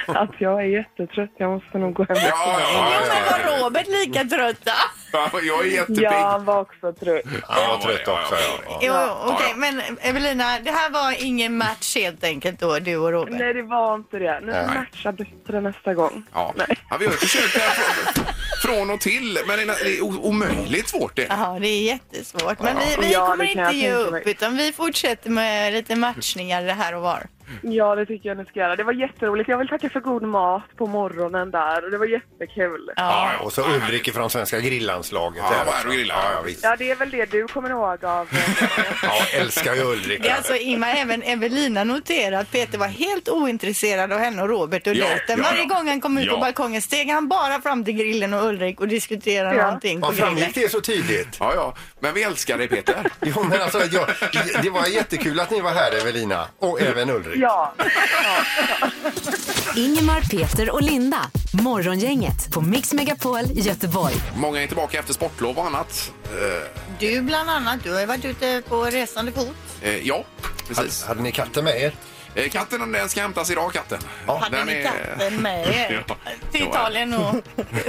Speaker 10: Att jag är jättetrött, jag måste nog gå hem.
Speaker 1: Ja, ja,
Speaker 3: Men var Robert lika trött? då?
Speaker 1: Jag är jättepigg.
Speaker 10: Ja, han var också trött.
Speaker 2: jag var trött också.
Speaker 3: Jo, okej, men Evelina, det här var ingen match helt enkelt då, du och Robert?
Speaker 10: Nej, det var inte det. Nu
Speaker 1: Nej.
Speaker 10: matchar bättre nästa gång.
Speaker 1: Ja. ja, vi har ju försökt det här från, från och till, men det är- det är o- omöjligt svårt det.
Speaker 3: Ja, det är jättesvårt. Men vi, vi
Speaker 10: Ja, det
Speaker 3: kommer
Speaker 10: kan jag
Speaker 3: inte ge
Speaker 10: tänka
Speaker 3: upp,
Speaker 10: mig.
Speaker 3: utan vi fortsätter med lite matchningar här och var.
Speaker 10: Ja, det tycker jag ni ska göra. Det var jätteroligt. Jag vill tacka för god mat på morgonen där och det var jättekul.
Speaker 2: Ja, och så Ulrik från Svenska grillanslaget.
Speaker 1: Ja,
Speaker 2: där
Speaker 1: var här
Speaker 2: också.
Speaker 1: och grillade.
Speaker 2: Ja, ja, visst.
Speaker 10: Ja, det är väl det du kommer ihåg av...
Speaker 2: ja älskar ju Ulrik.
Speaker 3: Det är alltså Ingmar, även Evelina noterar att Peter var helt ointresserad av henne och Robert och
Speaker 2: Ja,
Speaker 3: dejten.
Speaker 2: ja,
Speaker 3: Varje
Speaker 2: ja.
Speaker 3: gång han kom ut
Speaker 2: Ja.
Speaker 3: på balkongen steg han bara fram till grillen och Ulrik och diskuterade
Speaker 2: Ja.
Speaker 3: någonting på
Speaker 2: Vad
Speaker 3: grillen.
Speaker 2: framgick det så tidigt?
Speaker 1: Ja, ja. Men vi älskar dig Peter.
Speaker 2: Jo, men alltså, jag, det var jättekul att ni var här Evelina och även Ulrik.
Speaker 10: Ja.
Speaker 4: Ingemar, Peter och Linda. Morgongänget på Mix Megapol Göteborg.
Speaker 1: Många är tillbaka efter sportlov och annat. Eh,
Speaker 3: Du bland annat, du har ju varit ute på resande fot.
Speaker 1: eh, ja, precis. Eh,
Speaker 2: Hade, ni katten med er?
Speaker 1: Katten den ska hämtas idag, katten.
Speaker 3: Hade
Speaker 1: Den
Speaker 3: ni
Speaker 1: är-
Speaker 3: katten med er?
Speaker 1: Ja.
Speaker 3: Till
Speaker 1: Ja.
Speaker 3: Italien och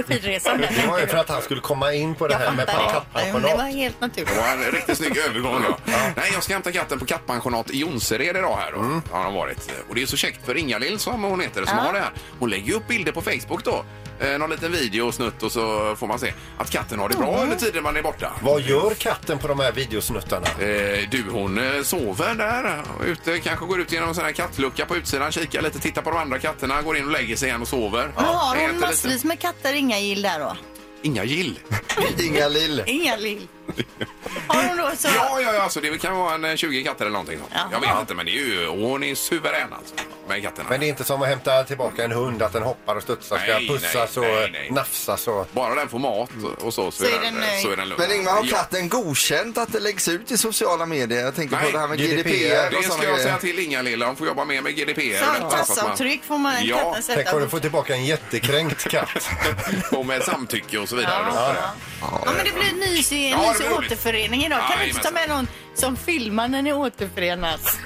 Speaker 3: skidresan.
Speaker 2: Det var ju för att han skulle komma in på det här med
Speaker 3: Men Det var
Speaker 2: kattpensionat.
Speaker 3: helt naturligt.
Speaker 1: Det var en riktigt snygg övergång. Ja. Nej, jag ska hämta katten på kattpensionat i Jonsered idag här. Då. Har de varit. Och det är så käckt för Ingalill som hon heter som
Speaker 11: Ja.
Speaker 1: har det här. Hon lägger ju upp bilder på Facebook då. Eh, någon liten video och snutt och så får man se att katten har det bra
Speaker 2: Mm.
Speaker 1: under tiden man är borta.
Speaker 2: Vad gör katten på de här videosnuttarna?
Speaker 1: Eh, du, hon eh, sover där ute, kanske går ut genom en sån här kattlucka på utsidan, kikar lite, tittar på de andra katterna, går in och lägger sig igen och sover.
Speaker 3: Men har
Speaker 1: Äter
Speaker 3: hon
Speaker 1: lite.
Speaker 3: massvis med katter Inga gill där då?
Speaker 1: Inga gill.
Speaker 7: Inga Lill.
Speaker 3: Inga lill. Har hon då så...
Speaker 1: Ja, ja, ja, alltså det kan vara en eh, 20 katter eller någonting. sånt. Jag vet inte, men det är ju, hon är suverän alltså, med katterna.
Speaker 2: Men det är inte som att hämta tillbaka en hund, att den hoppar och studsar, ska
Speaker 1: Nej,
Speaker 2: pussas
Speaker 1: nej,
Speaker 2: och
Speaker 1: nej, nej.
Speaker 2: nafsas och...
Speaker 1: Bara den får mat och Mm. så, så, är, den, eh, så är den lugn.
Speaker 7: Men Ingmar, har
Speaker 1: Ja.
Speaker 7: katten godkänt att det läggs ut i sociala medier? Jag tänker
Speaker 1: Nej,
Speaker 7: på det här med GDPR, och
Speaker 1: Det ska
Speaker 7: sådana
Speaker 1: jag säga
Speaker 7: grejer.
Speaker 1: till Inga-Lilla. Hon får jobba mer med GDPR. och detta, så att man-
Speaker 3: Samtassavtryck får man
Speaker 1: Ja,
Speaker 3: katten
Speaker 2: Tänk
Speaker 3: sätta.
Speaker 2: om du får tillbaka en jättekränkt katt.
Speaker 1: och med samtycke och så vidare.
Speaker 3: Ja.
Speaker 1: då.
Speaker 3: Ja, men det blir en mysig, en
Speaker 1: Ja, det
Speaker 3: mysig
Speaker 1: blir roligt.
Speaker 3: återförening idag. Kan du inte ta med
Speaker 1: Jajamensan.
Speaker 3: någon som filmar när ni återförenas?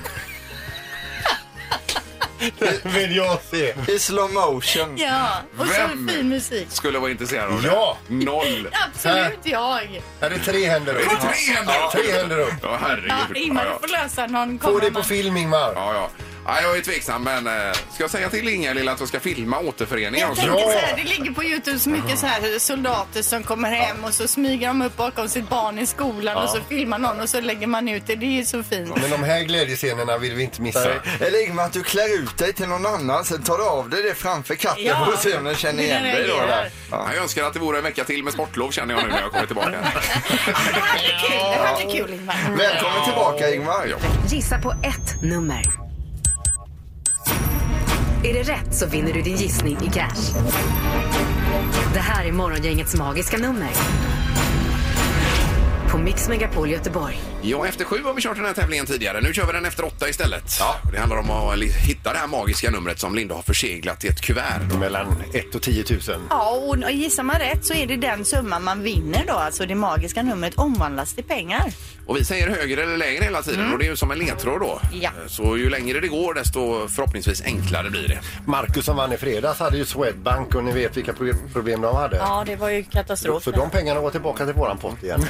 Speaker 2: Det vill jag se.
Speaker 7: I slow motion.
Speaker 3: Ja, och så
Speaker 1: Vem?
Speaker 3: fin musik.
Speaker 1: Skulle vara intresserad av det.
Speaker 2: Ja!
Speaker 1: Noll.
Speaker 3: Absolut jag.
Speaker 2: Är det tre händer upp?
Speaker 1: Det är tre händer
Speaker 2: Ja,
Speaker 1: upp.
Speaker 2: tre händer upp.
Speaker 3: Ja,
Speaker 1: Ja, herregud.
Speaker 3: Ingmar, du får lösa någon
Speaker 2: Få det
Speaker 3: kommande.
Speaker 2: på film, Ingmar.
Speaker 1: Ja, ja. Ja, jag är tveksam, men eh, ska jag säga till Inga-Lilla att jag ska filma återföreningen?
Speaker 3: Jag
Speaker 1: också?
Speaker 3: tänker så här, det ligger på Youtube så mycket så här soldater som kommer hem och så smyger de upp bakom sitt barn i skolan
Speaker 2: Ja.
Speaker 3: och så filmar någon och så lägger man ut det. Det är ju så fint.
Speaker 2: Men de här glädjescenerna vill vi inte missa.
Speaker 7: Nej. Eller Ingmar, att du klär ut dig till någon annan, sen tar du av dig det framför katten
Speaker 3: Ja.
Speaker 7: och ser om den känner
Speaker 3: Hur
Speaker 7: igen
Speaker 3: den
Speaker 7: dig. Då,
Speaker 3: reagerar.
Speaker 7: eller?
Speaker 1: Ja, jag önskar att det vore en vecka till med sportlov känner jag nu när jag kommer tillbaka.
Speaker 3: Det här blir kul, det här blir kul Ingmar.
Speaker 7: Välkommen tillbaka Ingmar.
Speaker 4: Gissa på ett nummer. Är det rätt så vinner du din gissning i cash. Det här är Morgongängets magiska nummer. På Mix Megapol Göteborg.
Speaker 1: Ja, efter sju har vi kört den här tävlingen tidigare. Nu kör vi den efter åtta istället. Ja. Det handlar om att li- hitta det här magiska numret som Linda har förseglat i ett kuvert.
Speaker 2: Mellan 1 och 10 000.
Speaker 3: Ja, och gissar man rätt så är det den summan man vinner då, alltså det magiska numret omvandlas till pengar.
Speaker 1: Och vi säger högre eller lägre hela tiden och det är ju som en ledtråd då.
Speaker 3: Ja.
Speaker 1: Så ju längre det går desto förhoppningsvis enklare blir det.
Speaker 2: Marcus som vann i fredags hade ju Swedbank och ni vet vilka pro- problem de hade.
Speaker 3: Ja, det var ju katastrof.
Speaker 2: Så de pengarna går tillbaka till våran pott igen.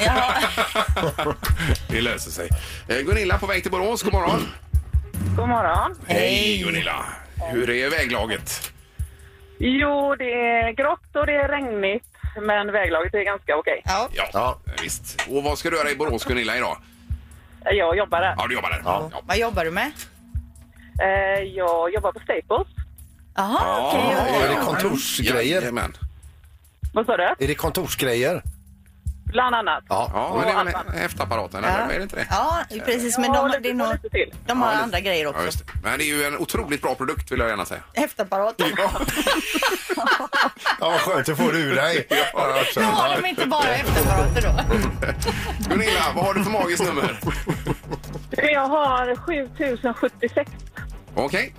Speaker 1: Det löser sig. Eh, Gunilla på väg till Borås, god morgon.
Speaker 12: God morgon.
Speaker 1: Mm. Hej Gunilla! Hur är väglaget?
Speaker 12: Jo, det är grått och det är regnigt, men väglaget är ganska okej.
Speaker 3: Ja.
Speaker 1: Ja, visst. Och vad ska du göra i Borås Gunilla idag?
Speaker 12: Jag jobbar där.
Speaker 1: Ja, du jobbar där. Ja. Ja.
Speaker 3: Vad jobbar du med?
Speaker 12: Eh, Jag jobbar på Staples.
Speaker 3: Jaha, okej.
Speaker 2: Ja, Är det kontorsgrejer?
Speaker 1: Jajamän.
Speaker 12: Vad sa du?
Speaker 2: Är det kontorsgrejer?
Speaker 12: Bland annat.
Speaker 1: Ja, men det är väl häftapparaten, eller? Är det inte det?
Speaker 3: Ja, precis. Men de, det är nog, de har andra grejer
Speaker 1: Ja,
Speaker 3: också.
Speaker 1: just det. Men det är ju en otroligt bra produkt vill jag gärna säga.
Speaker 3: Häftapparaten.
Speaker 2: Ja, vad skönt att få det ur dig. Ja, alltså.
Speaker 3: Nu har de inte bara häftapparater då.
Speaker 1: Gunilla, vad har du för magiskt nummer?
Speaker 12: Jag har 7076.
Speaker 1: Okej.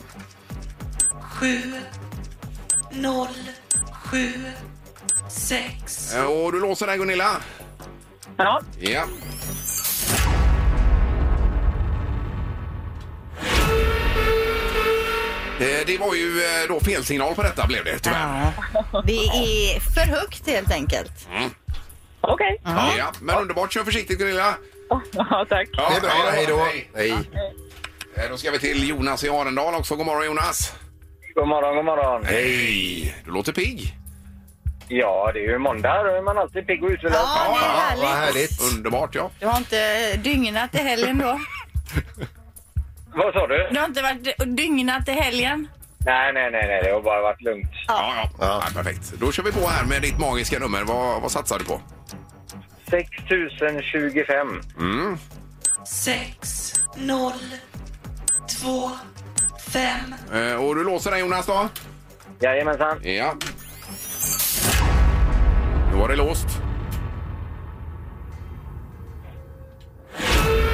Speaker 10: Noll, sju, sex.
Speaker 1: Eh, Och du låser där Gunilla?
Speaker 12: Ja.
Speaker 1: Ja. Eh, Det var ju eh, då felsignal på detta blev det tyvärr.
Speaker 3: Det är för högt helt enkelt.
Speaker 12: Okej.
Speaker 1: Mm. Ja, men underbart. Kör försiktigt Gunilla.
Speaker 12: Ja, tack.
Speaker 1: Ja,
Speaker 2: Det är bra. Hej då. Hej.
Speaker 1: Eh, Då ska vi till Jonas i Arendal också. God morgon Jonas.
Speaker 6: God morgon, god morgon.
Speaker 1: Hej! Du låter pigg.
Speaker 6: Ja, det är ju måndag. Då är man alltid pigg och utvilad.
Speaker 3: Ja, det är härligt.
Speaker 1: Underbart ja.
Speaker 3: Du har inte dygnat i helgen då?
Speaker 6: Vad sa du?
Speaker 3: Du har inte varit dygnat i helgen?
Speaker 6: Nej, nej, nej, nej. Det har bara varit lugnt.
Speaker 1: Ja, ja. ja perfekt. Då kör vi på här med ditt magiska nummer. Vad, vad satsar du på?
Speaker 6: 6025.
Speaker 1: Mm.
Speaker 10: Sex, noll, två, fem.
Speaker 1: Eh, Och du låser den Jonas då?
Speaker 6: Jajamensan.
Speaker 1: Ja. Nu var det låst.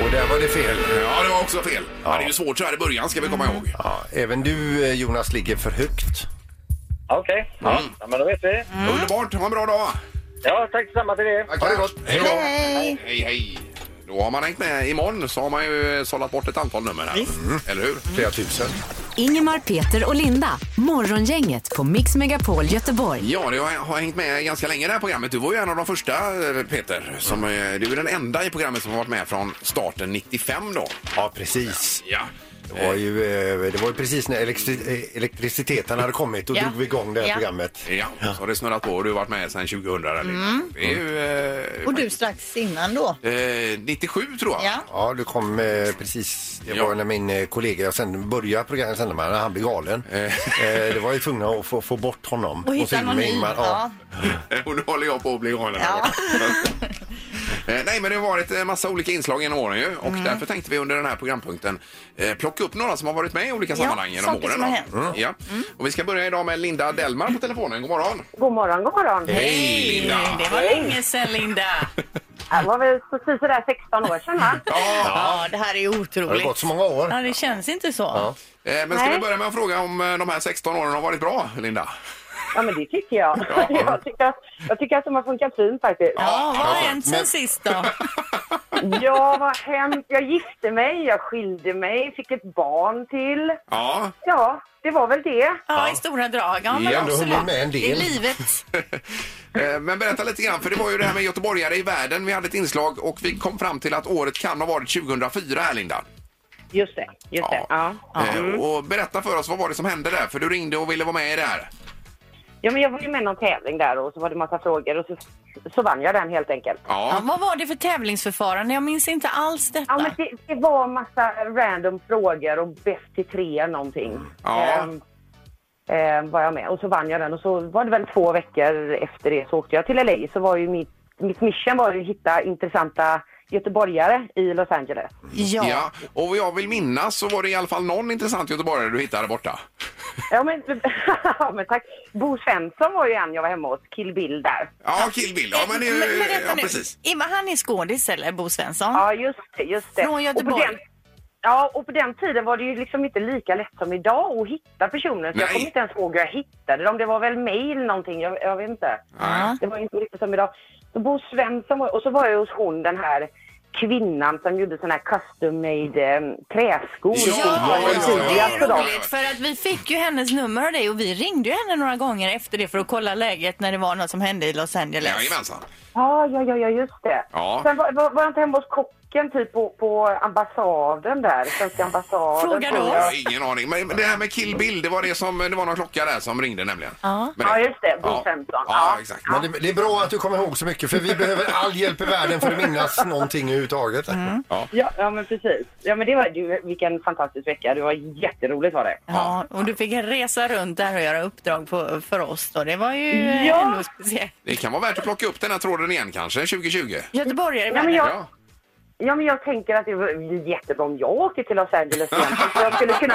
Speaker 2: Och där var det fel.
Speaker 1: Eh, Ja, det var också fel. Ja. det är ju svårt så här i början ska vi komma ihåg.
Speaker 2: Ja, även du eh, Jonas ligger för högt.
Speaker 6: Okej. Ja, ja, men då vet vi.
Speaker 1: Mm. Underbart, ha en bra dag!
Speaker 6: Ja, tack detsamma till er.
Speaker 2: Ha det gott.
Speaker 1: Hej då!
Speaker 3: Hej!
Speaker 1: Hej, hej! Då har man hängt med. Imorgon så har man ju sållat bort ett antal nummer här. Mm. Eller hur?
Speaker 2: Flera tusen.
Speaker 4: Ingemar, Peter och Linda. Morgongänget på Mix Megapol Göteborg.
Speaker 1: Ja, det har, har hängt med ganska länge i det här programmet. Du var ju en av de första, eh, Peter. Som, eh, du är den enda i programmet som har varit med från starten 95 då.
Speaker 2: Ja, precis.
Speaker 1: Ja.
Speaker 2: Det var ju, eh, det var ju precis när elektri- eh, elektriciteten hade kommit. Då
Speaker 3: Ja.
Speaker 2: drog vi igång det här
Speaker 3: Ja.
Speaker 2: programmet.
Speaker 1: Ja, så har det snurrat på och du har varit med sedan 2000. Eller?
Speaker 3: Mm.
Speaker 1: Det är ju, eh,
Speaker 8: Och du strax innan då?
Speaker 1: eh, 97 tror jag.
Speaker 8: Ja.
Speaker 2: Ja, du kom eh, precis. Det var när min eh, kollega, jag sen började programmet, sen när han blev galen. eh, det var ju tvungna att få, få bort honom.
Speaker 8: Och hitta
Speaker 2: så
Speaker 8: någon
Speaker 2: med
Speaker 8: ny.
Speaker 2: Ingmar,
Speaker 8: Ja.
Speaker 1: och nu håller jag på att bli galen. här borta. Eh, Nej, men det har varit en massa olika inslag genom åren ju. Och därför tänkte vi under den här programpunkten eh, plocka upp några som har varit med i olika
Speaker 12: Ja,
Speaker 1: sammanhang genom
Speaker 12: saker
Speaker 1: åren.
Speaker 12: som har
Speaker 1: då. Mm.
Speaker 12: hänt.
Speaker 1: Ja. Och vi ska börja idag med Linda Delmar på telefonen. God morgon!
Speaker 12: God morgon, god morgon.
Speaker 1: Hej, Linda!
Speaker 3: Mm, Det var länge sedan Linda.
Speaker 12: Det var väl precis sådär 16 år sedan va?
Speaker 3: Ja, det här är otroligt.
Speaker 1: Har det gått så många år?
Speaker 3: Ja, det känns inte så.
Speaker 1: Eh, Men ska
Speaker 12: Nej.
Speaker 1: vi börja med att fråga om eh, de här 16 åren har varit bra, Linda?
Speaker 12: Ja men det tycker jag.
Speaker 1: Ja.
Speaker 12: Jag, tycker att, jag tycker att de har funkat fint faktiskt.
Speaker 3: Ja, vad har hänt sen sist då?
Speaker 12: Ja, vad hänt? Jag gifte mig, jag skilde mig, fick ett barn till.
Speaker 1: Ja.
Speaker 12: Ja, det var väl det.
Speaker 3: Ja, i stora drag. Ja, men
Speaker 1: Ja, du
Speaker 3: absolut.
Speaker 1: har med en del.
Speaker 3: Det är livet.
Speaker 1: Eh, Men berätta lite grann, för det var ju det här med göteborgare i världen. Vi hade ett inslag och vi kom fram till att året kan ha varit 2004 här, Linda.
Speaker 12: Just det, just det. Ja.
Speaker 1: Eh, Och berätta för oss, vad var det som hände där? För du ringde och ville vara med i det här.
Speaker 12: ja, men jag var ju med i någon tävling där och så var det massa frågor och så, så vann jag den helt enkelt.
Speaker 3: Ja, vad var det för tävlingsförfarande? Jag minns inte alls detta.
Speaker 12: Ja, men det, det var massa random frågor och bäst i tre någonting.
Speaker 3: Ja.
Speaker 12: Ehm, ehm, var jag med och så vann jag den och så var det väl två veckor efter det så åkte jag till LA så var ju mitt, mitt mission var ju att hitta intressanta göteborgare i Los Angeles.
Speaker 3: Ja.
Speaker 1: Och vad jag vill minnas så var det i alla fall någon intressant göteborgare du hittade borta.
Speaker 12: Ja men, ja, men tack. Bo Svensson var ju en jag var hemma hos, Kill Bill där.
Speaker 1: Ja, Kill Bill. Ja, men det är
Speaker 3: Men, men
Speaker 1: ju...
Speaker 3: vänta
Speaker 1: Ja,
Speaker 3: nu.
Speaker 1: precis.
Speaker 3: Imma, han är skådis eller, Bo Svensson?
Speaker 12: Ja just det, just det.
Speaker 3: Från
Speaker 12: Och
Speaker 3: Göteborg.
Speaker 12: på den, ja och på den tiden var det ju liksom inte lika lätt som idag att hitta personer. Så jag
Speaker 1: Nej.
Speaker 12: kommer inte ens ihåg hur jag hittade dem. Det var väl mail någonting, jag, jag vet inte.
Speaker 1: Ja.
Speaker 12: Det var inte riktigt som idag. Så Bo Svensson var, och så var jag hos hon den här kvinnan som gjorde såna här custom made eh, träskor.
Speaker 3: Ja,
Speaker 12: Hon var alltså tidigast på dem.
Speaker 3: roligt för att vi fick ju hennes nummer och det och vi ringde ju henne några gånger efter det för att kolla läget när det var något som hände i Los Angeles.
Speaker 1: Jajamensan.
Speaker 12: Ja, ja, ja, ja, just det.
Speaker 1: Ja.
Speaker 12: Sen var, var, var jag inte hemma hos kocken typ på, på ambassaden där, svenska ambassaden.
Speaker 3: Fråga
Speaker 12: tror jag.
Speaker 1: Jag har ingen aning. Men men det här med Kill Bill, det var det som... Det var någon klocka där som ringde nämligen.
Speaker 12: Ja.
Speaker 1: Men det-
Speaker 12: just det. Bo
Speaker 1: Ja.
Speaker 12: Svensson.
Speaker 1: Ja, exakt.
Speaker 2: Men det, det är bra att du kommer ihåg så mycket för vi behöver all hjälp i världen för att minnas någonting överhuvudtaget.
Speaker 8: Mm.
Speaker 1: Ja.
Speaker 12: Ja, ja, men precis. Ja, men det var du, vilken fantastisk vecka. Det var jätteroligt var det.
Speaker 3: Ja, och du fick resa runt där och göra uppdrag på, för oss då. Det var ju eh,
Speaker 12: Ja.
Speaker 3: ändå speciellt.
Speaker 1: Det kan vara värt att plocka upp den här tråden igen kanske, 2020.
Speaker 3: Göteborgare i
Speaker 12: Ja, men
Speaker 3: världen.
Speaker 12: jag, ja, men jag tänker att det var jättebra om jag åker till Los Angeles igen. så jag skulle kunna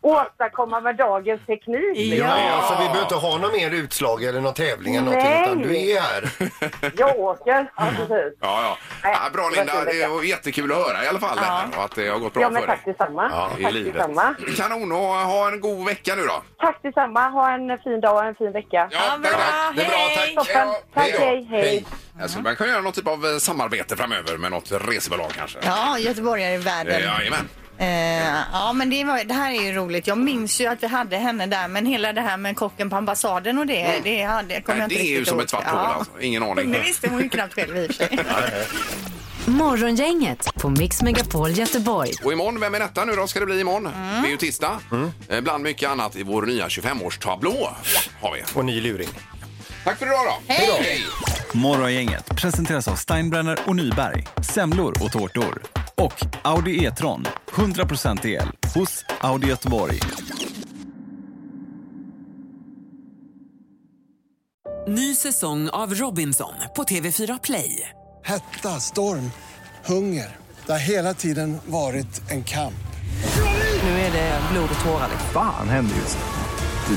Speaker 12: åstadkomma med dagens teknik.
Speaker 2: Ja.
Speaker 12: liksom.
Speaker 2: så vi behöver inte ha någon mer utslag eller någon tävling eller
Speaker 12: Nej.
Speaker 2: någonting utan du är här.
Speaker 12: Jag åker. Ja, precis.
Speaker 1: Ja, ja. ja bra Linda, det var jättekul att höra i alla fall.
Speaker 12: Ja.
Speaker 1: det här, Och att det har gått bra
Speaker 12: Ja,
Speaker 1: för
Speaker 12: men tack
Speaker 1: dig.
Speaker 12: detsamma.
Speaker 1: Ja, i
Speaker 12: tack
Speaker 1: livet.
Speaker 12: detsamma.
Speaker 1: Kanon och ha en god vecka nu då.
Speaker 12: Tack detsamma. Ha en fin dag och en fin vecka.
Speaker 1: Ja, bra.
Speaker 2: Det är bra, tack.
Speaker 12: Toppen. Tack,
Speaker 1: då.
Speaker 12: hej, hej.
Speaker 1: Jag skulle man kunna göra något typ av eh, samarbete framöver med något resebolag kanske.
Speaker 8: Ja, göteborgare i
Speaker 1: Eh,
Speaker 8: världen.
Speaker 1: Jajamän.
Speaker 8: Eh, ja, men det, var, det här är ju roligt. Jag minns ju att vi hade henne där, men hela det här med kocken på ambassaden och det, det, hade, det kommer jag
Speaker 1: Mm. Nej, det
Speaker 8: inte
Speaker 1: är ju
Speaker 8: riktigt
Speaker 1: som
Speaker 8: ihåg.
Speaker 1: ett svart hål alltså. Ingen aning.
Speaker 8: Det visste hon ju knappt själv i och för sig.
Speaker 4: Morgongänget på Mix Megapol Göteborg.
Speaker 1: Och imorgon, vem är detta nu då? Ska det bli imorgon? Det är ju tisdag. Eh, Bland mycket annat i vår nya 25-årstablå har vi.
Speaker 2: Och ny luring.
Speaker 1: Tack för idag då. Hej!
Speaker 13: Morgongänget presenteras av Steinbrenner och Nyberg, semlor och tårtor. Och Audi E-tron, 100% el hos Audi Göteborg.
Speaker 14: Ny säsong av Robinson på TV4 Play.
Speaker 15: Hetta, storm, hunger. Det har hela tiden varit en kamp.
Speaker 14: Nu är det blod och tårar. liksom.
Speaker 16: Fan händer just det.